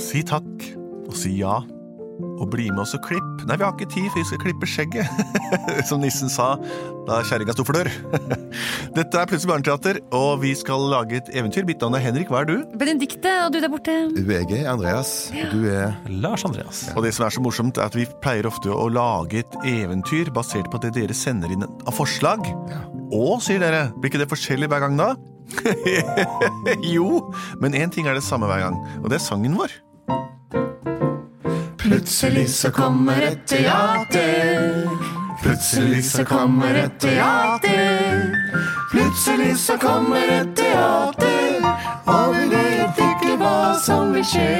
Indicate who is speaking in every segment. Speaker 1: Si takk, og si ja. Og bli med oss og klipp Nei, vi har ikke tid, for vi skal klippe skjegget, som nissen sa da kjerringa sto for dør. Dette er Plutselig barneteater, og vi skal lage et eventyr. Mitt navn er Henrik, hva er du?
Speaker 2: Benedikte, og eh, du der borte.
Speaker 3: Jeg er Andreas. Du er
Speaker 4: Lars Andreas.
Speaker 1: Og det som er så morsomt, er at vi pleier ofte å lage et eventyr basert på det dere sender inn av forslag. Og, sier dere, blir ikke det forskjellig hver gang da? jo, men én ting er det samme hver gang, og det er sangen vår.
Speaker 3: Plutselig så kommer et teater. Plutselig så kommer et teater. Plutselig så kommer et teater, og vi vet ikke hva som vil skje.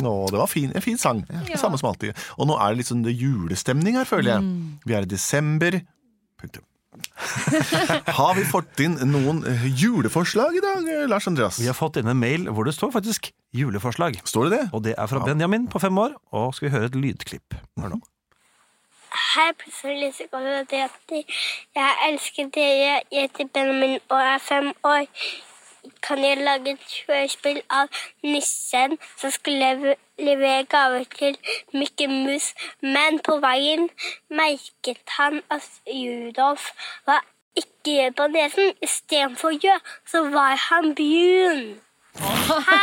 Speaker 1: Å, det var fin, en fin sang. Samme som alltid. Og nå er det litt sånn det julestemning her, føler jeg. Vi er i desember. Punktum. har vi fått inn noen eh, juleforslag i dag, eh, Lars Andreas?
Speaker 4: Vi har fått inn en mail hvor det står faktisk 'juleforslag'.
Speaker 1: Står det det?
Speaker 4: Og det er fra Benjamin på fem år. Og skal vi høre et lydklipp. Hør nå.
Speaker 5: Hei, plutselig så kommer det til at jeg elsker dere. Jeg heter Benjamin og er fem år. Kan jeg lage et hørespill av nissen som skulle leve- levere gaver til Mikke Mus, men på veien merket han at Rudolf var ikke rød på nesen. Istedenfor rød, så var han brun. Ha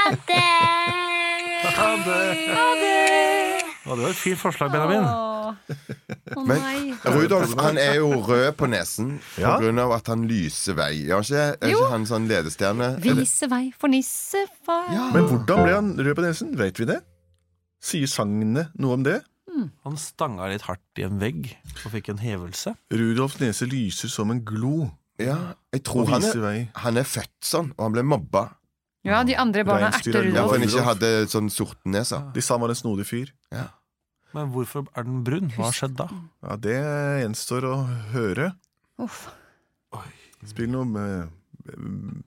Speaker 5: det!
Speaker 4: Ha det! Ja, det var et fint forslag, Benjamin.
Speaker 2: Å
Speaker 3: Men
Speaker 2: nei.
Speaker 3: Rudolf han er jo rød på nesen pga.
Speaker 1: Ja.
Speaker 3: av at han lyser vei. Er ikke, er
Speaker 2: Jo.
Speaker 3: ikke han sånn ledestjerne? Eller-
Speaker 2: Vise vei for nissefar.
Speaker 3: Ja.
Speaker 1: Men hvordan ble han rød på nesen? Vet vi det? Sier sangene noe om det?
Speaker 4: Han stanga litt hardt i en vegg og fikk en hevelse.
Speaker 1: Rudolfs nese lyser som en glo
Speaker 3: Ja, jeg tror
Speaker 1: og
Speaker 3: han
Speaker 1: viser
Speaker 3: er,
Speaker 1: vei.
Speaker 3: han er født sånn, og han ble mobba.
Speaker 2: Ja, de andre barna
Speaker 1: Reinsdyr
Speaker 2: erter
Speaker 1: er
Speaker 3: Ja,
Speaker 2: Rudolf.
Speaker 1: lov.
Speaker 3: for han ikke hadde sånn sortnese.
Speaker 1: De sa han var en snodig fyr.
Speaker 4: Men hvorfor er den brun? Hva har skjedd da?
Speaker 1: Ja, Det gjenstår å høre.
Speaker 2: Uff.
Speaker 1: Spill noe med mm,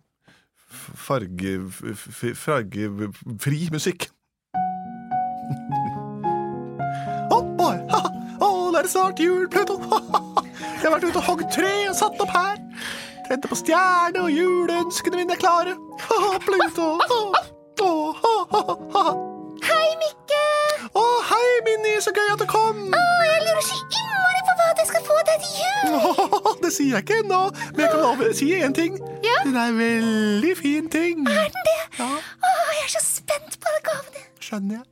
Speaker 1: f- farge... f- f- fargefri musikk. Oh boy, ha, oh, det er snart jul, Pluto. Jeg har vært ute og hogd tre og satt opp her. Tente på stjerne, og juleønskene mine er klare. Pluto. Oh, oh, oh, oh.
Speaker 6: Hei, Mikke!
Speaker 1: Å, hei, Minni, så gøy at du kom!
Speaker 6: Å, jeg lurer så innmari på hva jeg skal få deg til jul!
Speaker 1: Åh, det sier jeg ikke ennå, men jeg kan love si én ting.
Speaker 6: Ja?
Speaker 1: Den er en veldig fin ting.
Speaker 6: Er den det? Å, jeg er så spent på alle gavene.
Speaker 1: Skjønner jeg.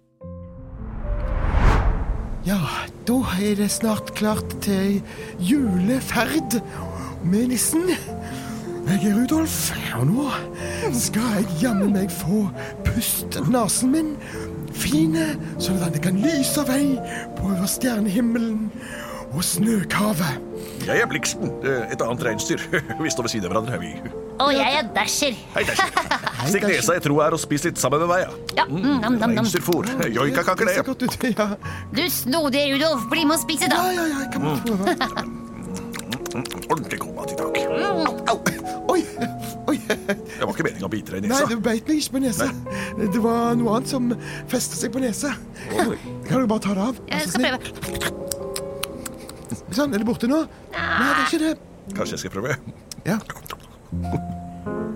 Speaker 3: Ja, da er det snart klart til juleferd med nissen. Jeg er Rudolf, og nå skal jeg jammen meg få pust nasen min fine, sånn at den kan lyse vei på over stjernehimmelen og snøkavet.
Speaker 1: Jeg er Bliksten, et annet reinsdyr. Vi står ved siden av hverandre. her, vi.
Speaker 6: Og jeg er Dasher.
Speaker 1: Hei, Dash. Stikk nesa i tro her og spis litt sammen med meg. ja.
Speaker 6: Ja, mm, nam, nam, nam.
Speaker 1: Reinsdyrfôr. Joikakaker,
Speaker 3: Det ser
Speaker 1: det.
Speaker 3: godt ut, ja.
Speaker 6: Du snodige Rudolf, bli med og spise, da.
Speaker 3: Ja, ja, ja, jeg kan bare prøve.
Speaker 1: Mm, Ordentlig god mat i dag.
Speaker 3: Au! Oi, oi.
Speaker 1: Det var ikke meninga å bite deg i
Speaker 3: Nei,
Speaker 1: nesa.
Speaker 3: det beit meg ikke på nesa. Det var noe annet som festet seg på nesa. Kan du bare ta det av? Vær
Speaker 6: Jeg
Speaker 3: så
Speaker 6: skal
Speaker 3: snill?
Speaker 6: prøve.
Speaker 3: Sånn, er det borte nå? Nei, det er ikke det.
Speaker 1: Kanskje jeg skal prøve?
Speaker 3: Ja.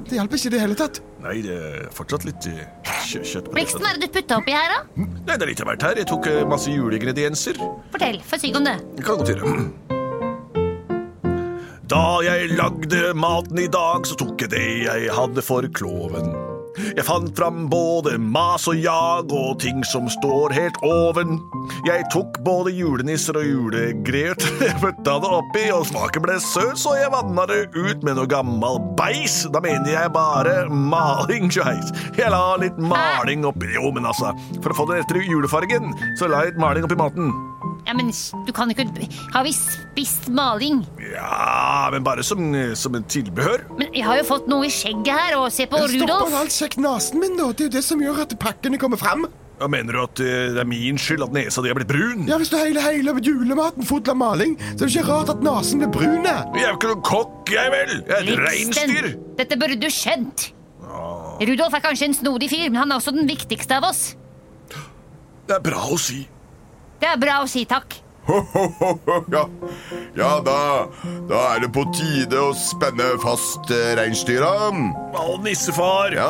Speaker 3: Det hjalp ikke i det hele tatt.
Speaker 1: Nei, det er fortsatt litt eh, kjø- kjøtt på
Speaker 6: Bliksten,
Speaker 1: nesa.
Speaker 6: hva er det du putta oppi her, da?
Speaker 1: Nei, det er litt av hvert her. Jeg tok eh, masse juleingredienser.
Speaker 6: Fortell, få syng om det.
Speaker 1: Det kan godt gjøre. Da jeg lagde maten i dag, så tok jeg det jeg hadde for kloven. Jeg fant fram både mas og jag og ting som står helt oven. Jeg tok både julenisser og julegrøt, jeg putta det oppi, og smaken ble søt, så jeg vanna det ut med noe gammal beis. Da mener jeg bare maling, skeis. Jeg la litt maling oppi Jo, men altså, for å få den rette julefargen, så la jeg litt maling oppi maten.
Speaker 6: Ja, men s- du kan ikke Har vi spist maling?
Speaker 1: Ja, men bare som, som et tilbehør.
Speaker 6: Men jeg har jo fått noe i skjegget her, og se på
Speaker 3: Stopp
Speaker 6: Rudolf.
Speaker 3: alt, sjekk nasen min, da. Det er jo det som gjør at pakkene kommer fram.
Speaker 1: Ja, mener du at eh, det er min skyld at nesa di er blitt brun?
Speaker 3: Ja, Hvis du hele, hele julematen full av maling, så er det ikke rart at nasen blir brun.
Speaker 1: Jeg er jo ikke noen kokk, jeg vel! Jeg er et reinsdyr!
Speaker 6: Bliksten, dette burde du skjønt.
Speaker 3: Ah.
Speaker 6: Rudolf er kanskje en snodig fyr, men han er også den viktigste av oss.
Speaker 1: Det er bra å si.
Speaker 6: Det er bra å si takk.
Speaker 3: ja, ja da, da er det på tide å spenne fast eh, reinsdyra.
Speaker 7: Å, nissefar,
Speaker 3: Ja,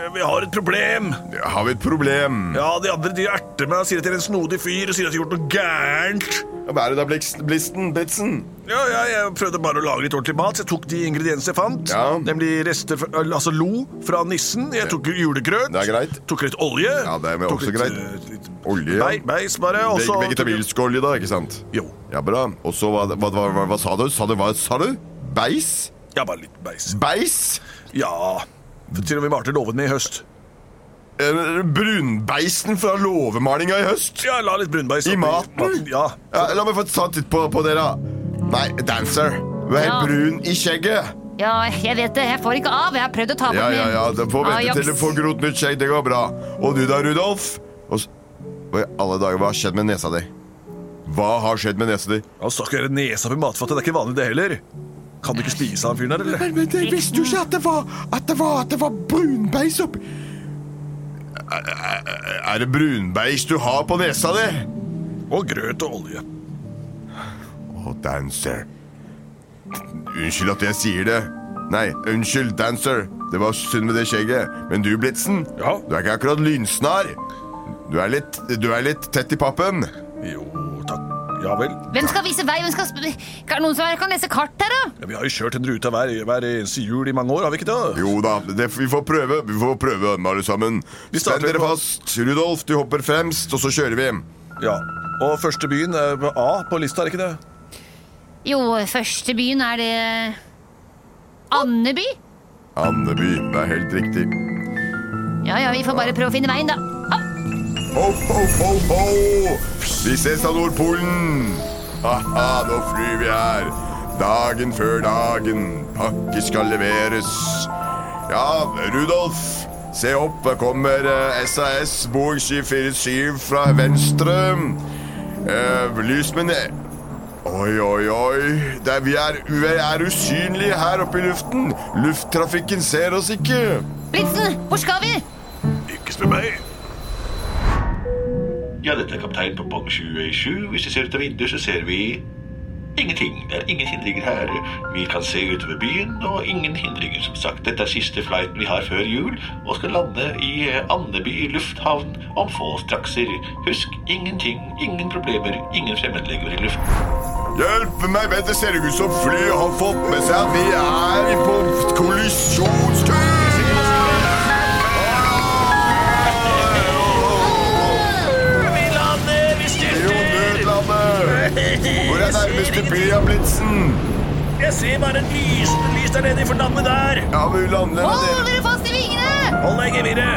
Speaker 7: eh, vi har et problem.
Speaker 3: ja, har vi et problem?
Speaker 7: Ja, de andre de erter meg og sier at jeg er en snodig fyr og sier at jeg har gjort noe gærent.
Speaker 3: Hva er det da, Blix- Blisten? Blitzen?
Speaker 7: Ja, ja, jeg prøvde bare å lage litt ordentlig mat, så jeg tok de ingrediensene jeg fant.
Speaker 3: Ja.
Speaker 7: Nemlig rester fra, altså lo fra nissen. Jeg tok julegrøt.
Speaker 3: Det er greit.
Speaker 7: Tok litt olje.
Speaker 3: Ja, det er
Speaker 7: tok
Speaker 3: også
Speaker 7: litt,
Speaker 3: greit.
Speaker 7: eh, litt
Speaker 3: Olje?
Speaker 7: Bei, beis bare. og
Speaker 3: Veg-
Speaker 7: så-
Speaker 3: Vegetabilsk olje, da, ikke sant?
Speaker 7: Jo.
Speaker 3: Ja, bra. Og så, hva, hva, hva, hva, hva sa du? Sa du, hva sa du? Beis?
Speaker 7: Ja, bare litt beis.
Speaker 3: Beis?
Speaker 7: Ja. For Til og med Marte lovet meg i høst.
Speaker 3: Eh, Brunbeisen fra låvemalinga i høst?
Speaker 7: Ja, la litt brunbeis
Speaker 3: I
Speaker 7: oppi
Speaker 3: maten?
Speaker 7: Ja.
Speaker 3: Ja, la meg få ta en titt på, på dere. da. Nei, dancer. Du er helt
Speaker 6: Ja.
Speaker 3: brun i skjegget.
Speaker 6: Ja, jeg vet det. Jeg får ikke av. Jeg har prøvd å ta Ah, på
Speaker 3: Ja,
Speaker 6: den.
Speaker 3: ja, ja. Du får vente
Speaker 6: Ajax.
Speaker 3: til du får grot nytt skjegg. Det går bra. Og du da, Rudolf? Og s- Hva i alle dager, hva har skjedd med nesa di? Hva har skjedd med nesa di?
Speaker 7: Han stakk jo nesa på matfatet. Det er ikke vanlig, det heller. Kan du ikke spise han fyren der, eller?
Speaker 1: Men, men jeg visste jo ikke at det var At det var, at det var brunbeis oppi
Speaker 3: Er det brunbeis du har på nesa di?
Speaker 7: Og grøt og olje.
Speaker 3: Å, dancer. Unnskyld at jeg sier det. Nei, unnskyld, dancer. Det var synd med det skjegget. Men du, Blitzen,
Speaker 7: Ja.
Speaker 3: du er ikke akkurat lynsnar. Du er litt, du er litt tett i pappen.
Speaker 7: Jo, takk. Ja vel.
Speaker 6: Hvem skal vise vei? Hvem skal sp Er det noen som kan lese kart her, da?
Speaker 7: Ja, vi har jo kjørt en rute hver, hver eneste jul i mange år, har vi ikke det?
Speaker 3: Jo da, det, vi får prøve. Vi får prøve, alle sammen.
Speaker 7: Vi
Speaker 3: Spenn
Speaker 7: starter
Speaker 3: dere
Speaker 7: på-
Speaker 3: fast. Rudolf, du hopper fremst, og så kjører vi.
Speaker 7: Ja. Og første byen er på A på lista, er ikke det?
Speaker 6: Jo, første byen er det Andeby?
Speaker 3: Andeby, det er helt riktig.
Speaker 6: Ja ja, vi får bare prøve å finne veien, da. Opp.
Speaker 3: Ho, ho, ho, ho! Vi ses av Nordpolen! Haha, nå flyr vi her. Dagen før dagen. Pakke skal leveres. Ja, Rudolf, se opp. Der kommer eh, SAS Boeing 747 fra venstre. Eh, lys med ned... Oi, oi, oi. Det er, vi, er, vi er usynlige her oppe i luften. Lufttrafikken ser oss ikke.
Speaker 6: Blitzen, hvor skal vi?
Speaker 7: Ikke spør meg.
Speaker 8: Ja, dette er kaptein på Bong 27. Hvis vi ser ut av vinduet, så ser vi ingenting. Det er ingen hindringer her. Vi kan se utover byen, og ingen hindringer, som sagt. Dette er siste flighten vi har før jul, og skal lande i eh, Andeby lufthavn om få strakser. Husk, ingenting, ingen problemer, ingen fremmedlegemer i luften.
Speaker 3: Hjelp meg, vent, det ser ikke ut som flyet har fått med seg at vi er på kollisjonskurs! Vi lander, vi styrter! Hvor er nærmeste by av Blitzen?
Speaker 7: Jeg ser bare en lys. En lys der nede i fordammet der.
Speaker 3: Ja, men vi lander
Speaker 6: Hold
Speaker 3: der.
Speaker 6: dere fast i vingene!
Speaker 7: Hold deg i geviret.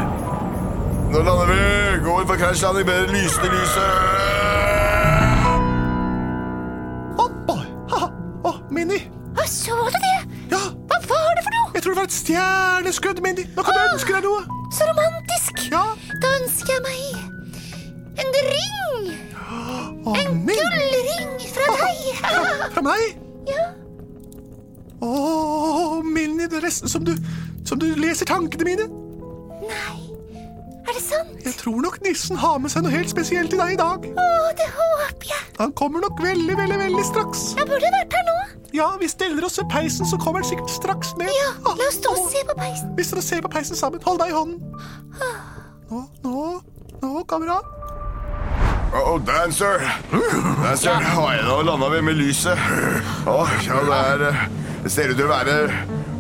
Speaker 3: Nå lander vi! Gå inn for krasjlanding med det lysende lyset!
Speaker 1: Oppå! Haha. Å, Minni!
Speaker 6: Hva så du det?
Speaker 1: Ja,
Speaker 6: Hva var det for noe?
Speaker 1: jeg tror det var et stjerneskudd, Minni. Nå kan du ønske deg noe.
Speaker 6: Så romantisk.
Speaker 1: Ja.
Speaker 6: Da ønsker jeg meg en ring.
Speaker 1: Å, Minni.
Speaker 6: Gullring fra deg.
Speaker 1: Fra meg?
Speaker 6: Ja.
Speaker 1: Å, Minni, det er nesten som du, som du leser tankene mine.
Speaker 6: Nei, er det sant?
Speaker 1: Jeg tror nok nissen har med seg noe helt spesielt til deg i dag.
Speaker 6: Å, det håper jeg.
Speaker 1: Han kommer nok veldig, veldig, veldig straks.
Speaker 6: Jeg burde vært her nå.
Speaker 1: Ja, vi steller oss ved peisen, så kommer han sikkert straks ned.
Speaker 6: Ja, la oss stå og
Speaker 1: Å,
Speaker 6: se på peisen.
Speaker 1: Hvis dere ser på peisen sammen, hold meg i hånden. Nå, nå, nå, kamerat.
Speaker 3: Oh, dancer! Dancer, har jeg da landa vi med lyset? Å, ja, det er eh, Det ser ut til å være,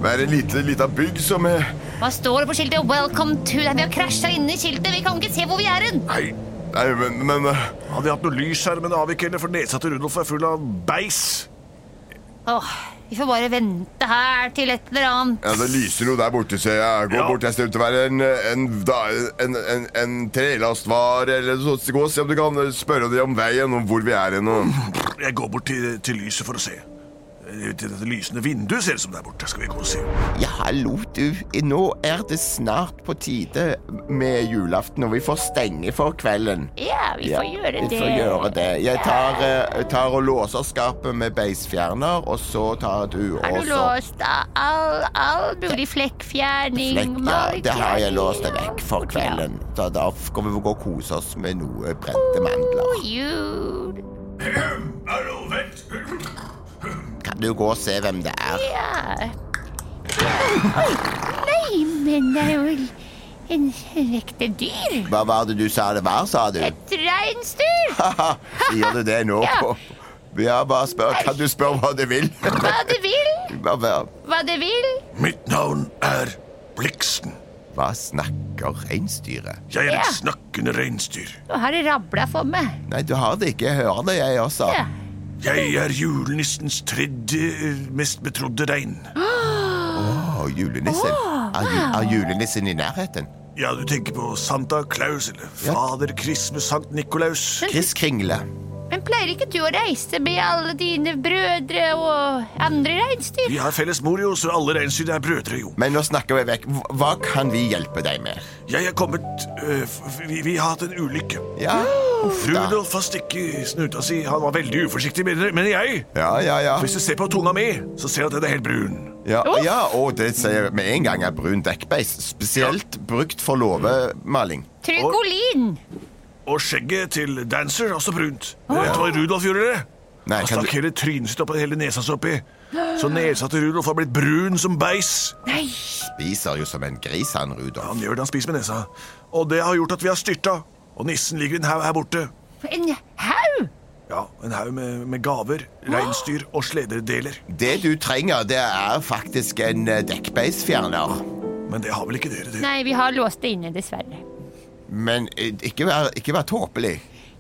Speaker 3: være en lite, lita bygg som eh,
Speaker 6: Hva står det på skiltet? Welcome to Nei, Vi har krasja inne i skiltet. Vi kan ikke se hvor vi er hen.
Speaker 3: Nei, nei men, men eh,
Speaker 7: Hadde vi hatt noe lys her, men det har vi ikke heller, for nesa til Rudolf er full av beis.
Speaker 6: Åh, vi får bare vente her til et eller annet.
Speaker 3: ja, Det lyser noe der borte, ser jeg. Gå
Speaker 7: Ja.
Speaker 3: bort. Jeg ser ut til å være en, en, da- en, en, en trelastvare eller noe sånt. Gå og se om du kan spørre dem om veien, om hvor vi er hen. og-
Speaker 7: Jeg går bort til, til lyset for å se. Eh, Til dette lysende vinduet ser det som det er borte. Skal vi gå og se.
Speaker 9: Ja, hallo, du. Nå er det snart på tide med julaften, og vi får stenge for kvelden.
Speaker 6: Ja, vi får
Speaker 9: Ja,
Speaker 6: gjøre det.
Speaker 9: Vi får gjøre det. Jeg tar, eh, tar og låser skapet med beisfjerner, og så tar du
Speaker 6: Har
Speaker 9: og
Speaker 6: du
Speaker 9: så
Speaker 6: låst av all, all mulig flekkfjerning?
Speaker 9: Flekk, ja, det har
Speaker 6: markering?
Speaker 9: jeg låst det vekk for
Speaker 6: Oh,
Speaker 9: kvelden. Så da skal vi gå og kose oss med noe brente mandler.
Speaker 6: Jul.
Speaker 8: Hallo, vent.
Speaker 9: Kan du gå og se hvem det er?
Speaker 6: Ja. Nei, men det er jo en ekte dyr.
Speaker 9: Hva var det du sa det var, sa du?
Speaker 6: Et reinsdyr!
Speaker 9: Haha, Sier du det nå?
Speaker 6: Ja.
Speaker 9: Ja, bare spør. Kan du spørre hva du vil?
Speaker 6: Hva det vil,
Speaker 9: Bare spør.
Speaker 6: hva det vil.
Speaker 7: Mitt navn er Bliksen.
Speaker 9: Hva snakker reinsdyret?
Speaker 7: Jeg er
Speaker 6: Ja.
Speaker 7: et snakkende reinsdyr.
Speaker 6: Nå har det rabla for meg.
Speaker 9: Nei, du har det ikke. Jeg hører det, jeg også.
Speaker 6: Ja.
Speaker 7: Jeg er julenissens tredje eh, mest betrodde rein.
Speaker 9: Å, julenissen. Er, ju er julenissen i nærheten?
Speaker 7: Ja, du tenker på Santa Claus eller
Speaker 9: Ja.
Speaker 7: Fader Christmas Sankt Nikolaus.
Speaker 9: Chris Kringle.
Speaker 6: Men pleier ikke du å reise med alle dine brødre og andre reinsdyr?
Speaker 7: Vi har felles mor, jo, så alle reinsdyr er brødre, jo.
Speaker 9: Men nå snakker vi vekk. Hva- Hva kan vi hjelpe deg med?
Speaker 7: Jeg er kommet eh, f- vi, vi har hatt en ulykke.
Speaker 9: Ja,
Speaker 7: Rudolf har stikket snuta si. Han var veldig uforsiktig, mener mener jeg.
Speaker 9: ja, ja. ja.
Speaker 7: Hvis du ser på tunga mi, så ser du at den er helt brun.
Speaker 9: Ja, ja og det sier med en gang er brun dekkbeis. Spesielt brukt for låvemaling.
Speaker 6: Trygolin!
Speaker 7: Og skjegget til Dancer er også brunt. Vet du hva Rudolf gjorde? det?
Speaker 9: Nei,
Speaker 7: Han
Speaker 9: kan du...
Speaker 7: stakk hele trynet sitt opp og hele nesa si oppi. Så nesa til Rudolf har blitt brun som beis.
Speaker 9: Spiser jo som en gris, han Rudolf.
Speaker 7: Han gjør det han spiser med nesa. Og det har gjort at vi har styrta. Og nissen ligger i en haug her borte.
Speaker 6: En haug!
Speaker 7: Ja, En haug med, med gaver, reinsdyr og slederdeler.
Speaker 9: Det du trenger, det er faktisk en eh, dekkbeisfjerner.
Speaker 7: Men det har vel ikke dere, dere?
Speaker 6: Nei, vi har låst det inne, dessverre.
Speaker 9: Men eh, ikke vær, ikke vær tåpelig.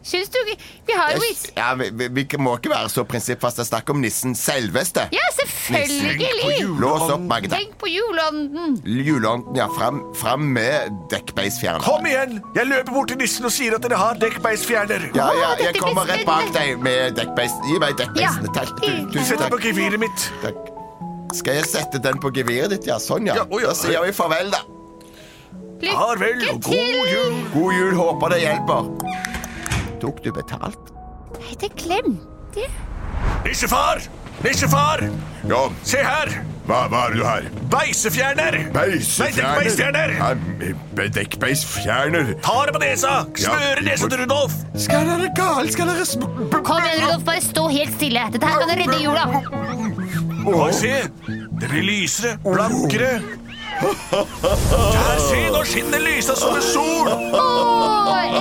Speaker 6: Syns du ikke- Vi har jo is...
Speaker 9: Ja, vi, vi, vi må ikke være så prinsippfast. Det er snakk om nissen selveste.
Speaker 6: Ja, selvfølgelig!
Speaker 9: Lås opp, Magda.
Speaker 6: Tenk på julånden!
Speaker 9: Juleånden, ja. Fram, fram med dekkbeisfjerner.
Speaker 7: Kom igjen! Jeg løper bort til nissen og sier at dere har dekkbeisfjerner.
Speaker 9: Ja, ja,
Speaker 6: Å, dette
Speaker 9: jeg
Speaker 6: blir
Speaker 9: kommer rett bak
Speaker 6: spennende.
Speaker 9: deg med dekkbeis. Gi meg dekkbeisen.
Speaker 6: Ja.
Speaker 9: Takk. Du, tusen
Speaker 7: Sett
Speaker 9: takk.
Speaker 7: på geviret mitt.
Speaker 9: Takk. Skal jeg sette den på geviret ditt? Ja, sånn, ja.
Speaker 7: Ja, å, ja.
Speaker 9: Da sier vi farvel, da.
Speaker 7: Farvel og god jul.
Speaker 9: God jul, håper det hjelper. Tok du betalt?
Speaker 6: Nei, det glemte jeg.
Speaker 7: Nissefar! Nissefar!
Speaker 3: Ja,
Speaker 7: Se her!
Speaker 3: hva, hva er det du har?
Speaker 7: Beisefjerner! Nei, dekkbeisfjerner!
Speaker 3: Nei, Dekkbeisfjerner.
Speaker 7: Tar det på nesa! Smører
Speaker 3: Ja.
Speaker 7: nesa til Rudolf!
Speaker 9: Skal dere galt? Skal dere sm...
Speaker 6: Kom igjen, Rudolf, bare stå helt stille. Dette her kan redde jula.
Speaker 7: Og se! Det blir lysere, blankere. Der, se! Nå skinner lysa som en sol!
Speaker 6: Å,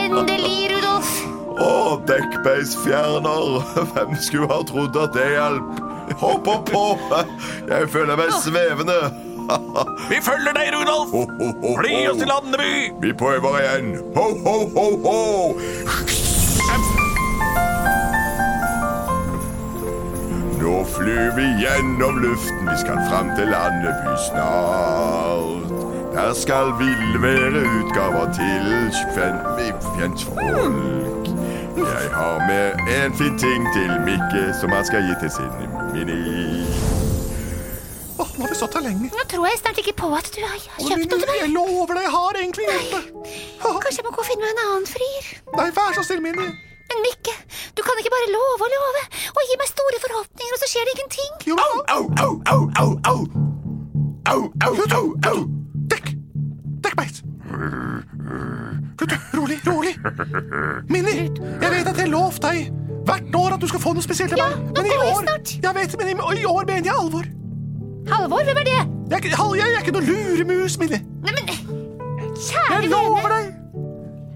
Speaker 6: endelig, Rudolf.
Speaker 3: Å, dekkbeisfjerner. Hvem skulle ha trodd at det hjalp? Hopp opp på. Jeg føler meg svevende.
Speaker 7: Vi følger deg, Rudolf!
Speaker 3: Ho, ho, ho, ho.
Speaker 7: Bli oss til Andeby!
Speaker 3: Vi prøver igjen. Ho, ho, ho, ho. Nå flyr vi gjennom luften, vi skal fram til Andeby snart. Der skal vi levere utgaver til fjernfolk. Jeg har med en fin ting til Mikke som han skal gi til sin mini.
Speaker 7: Nå har vi stått her lenge.
Speaker 6: Nå tror jeg snart ikke på at du har kjøpt noe til meg.
Speaker 7: Jeg lover deg, jeg har egentlig gjort det.
Speaker 6: Kanskje jeg må gå og finne meg en annen frier.
Speaker 7: Nei, vær så snill, Minni.
Speaker 6: Men Mikke, du kan ikke bare love og love og gi meg store forhåpninger, og så skjer det ingenting.
Speaker 7: Au, au, au, au, au, au. Au, au, au, au. Dekk. Dekkbeis. Kutt, rolig, rolig. Minni, jeg vet at jeg lovte deg hvert år at du skal få noe spesielt av
Speaker 6: Ja,
Speaker 7: meg.
Speaker 6: nå
Speaker 7: men i
Speaker 6: går jeg
Speaker 7: år,
Speaker 6: snart.
Speaker 7: jeg vet, men i, i år mener jeg alvor.
Speaker 6: Halvor, hvem er det?
Speaker 7: Jeg, er ikke- hall- jeg er ikke noe luremus, Minni.
Speaker 6: Nei, men kjære
Speaker 7: Jeg
Speaker 6: vene,
Speaker 7: lover deg.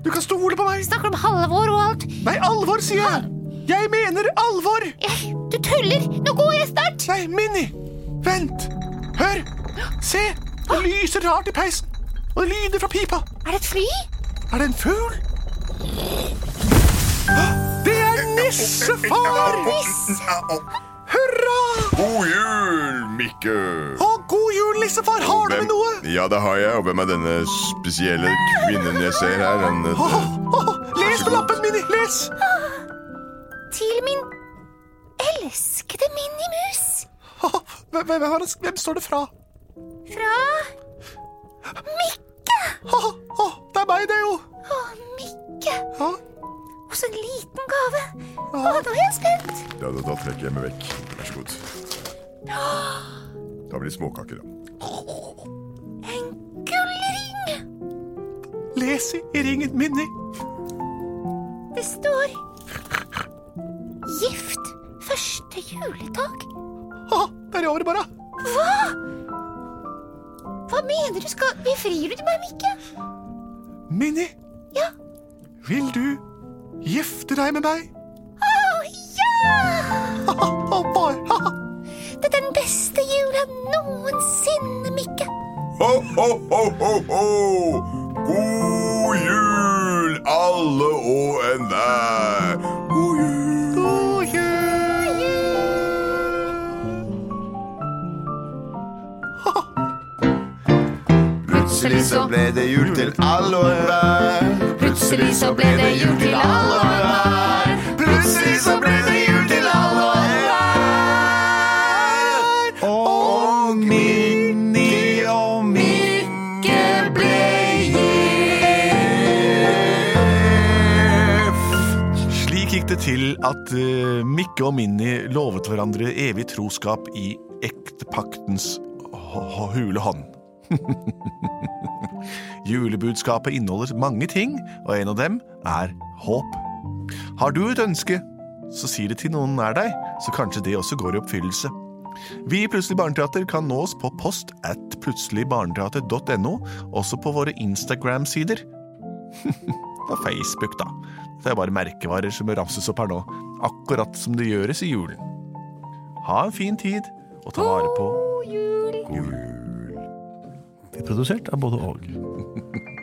Speaker 7: Du kan stole på meg.
Speaker 6: snakker du om Halvor og alt?
Speaker 7: Nei, alvor, sier jeg. Jeg mener alvor.
Speaker 6: Jeg, du tuller! Nå går jeg snart!
Speaker 7: Nei, Minni. Vent. Hør. Se. Det lyser rart i peisen. Og det lyder fra pipa.
Speaker 6: Er det et fly?
Speaker 7: Er det en fugl? Det er nissefar! Hurra!
Speaker 3: God jul, Mikke.
Speaker 7: Og god jul, nissefar. Har du med noe?
Speaker 3: Ja, det har jeg. Og hvem er denne spesielle kvinnen jeg ser her? Den, eh,
Speaker 7: Åh, åh, les på lappen, Minni. Les.
Speaker 6: Til min elskede Minimus.
Speaker 7: Åh, Hvem, hvem, hvem, er det- hvem står det fra?
Speaker 6: Fra Mikke.
Speaker 7: Åh, åh, det er meg, det, jo.
Speaker 6: Å, Mikke.
Speaker 7: Ja.
Speaker 6: Og så en liten gave. Å, nå er jeg spent.
Speaker 3: Ja, da, da trekker jeg meg vekk. Vær så god. Da blir det småkaker, da.
Speaker 6: En gullring.
Speaker 7: Les i i ringen, Minni.
Speaker 6: Det står Gift? Første juledag?
Speaker 10: Å, der er året bare.
Speaker 6: Hva mener du? Skal Befrir du meg, Mikke?
Speaker 10: Minni,
Speaker 6: Ja.
Speaker 10: vil du gifte deg med meg?
Speaker 6: Å, ja!
Speaker 10: Å, bare.
Speaker 6: Dette er den beste jula noensinne, Mikke.
Speaker 11: Ho, ho, ho, ho, ho! God jul, alle og enhver! God jul! God jul!
Speaker 3: Plutselig så ble det jul til alle og enhver. Plutselig så ble det jul til alle og enhver. Plutselig så ble det jul til alle og enhver. Og Minni og Mikke ble gift.
Speaker 7: Slik gikk det til at eh, Mikke og Minni lovet hverandre evig troskap i ektepaktens h- h- hule hånd. Julebudskapet inneholder mange ting, og en av dem er håp. Har du et ønske, så si det til noen nær deg, så kanskje det også går i oppfyllelse. Vi i Plutselig barneteater kan nås på post at plutseligbarneteater.no, også på våre Instagram-sider på Facebook, da. Det er bare merkevarer som ramses opp her nå, akkurat som det gjøres i julen. Ha en fin tid, og ta vare på
Speaker 10: Produsert av både og.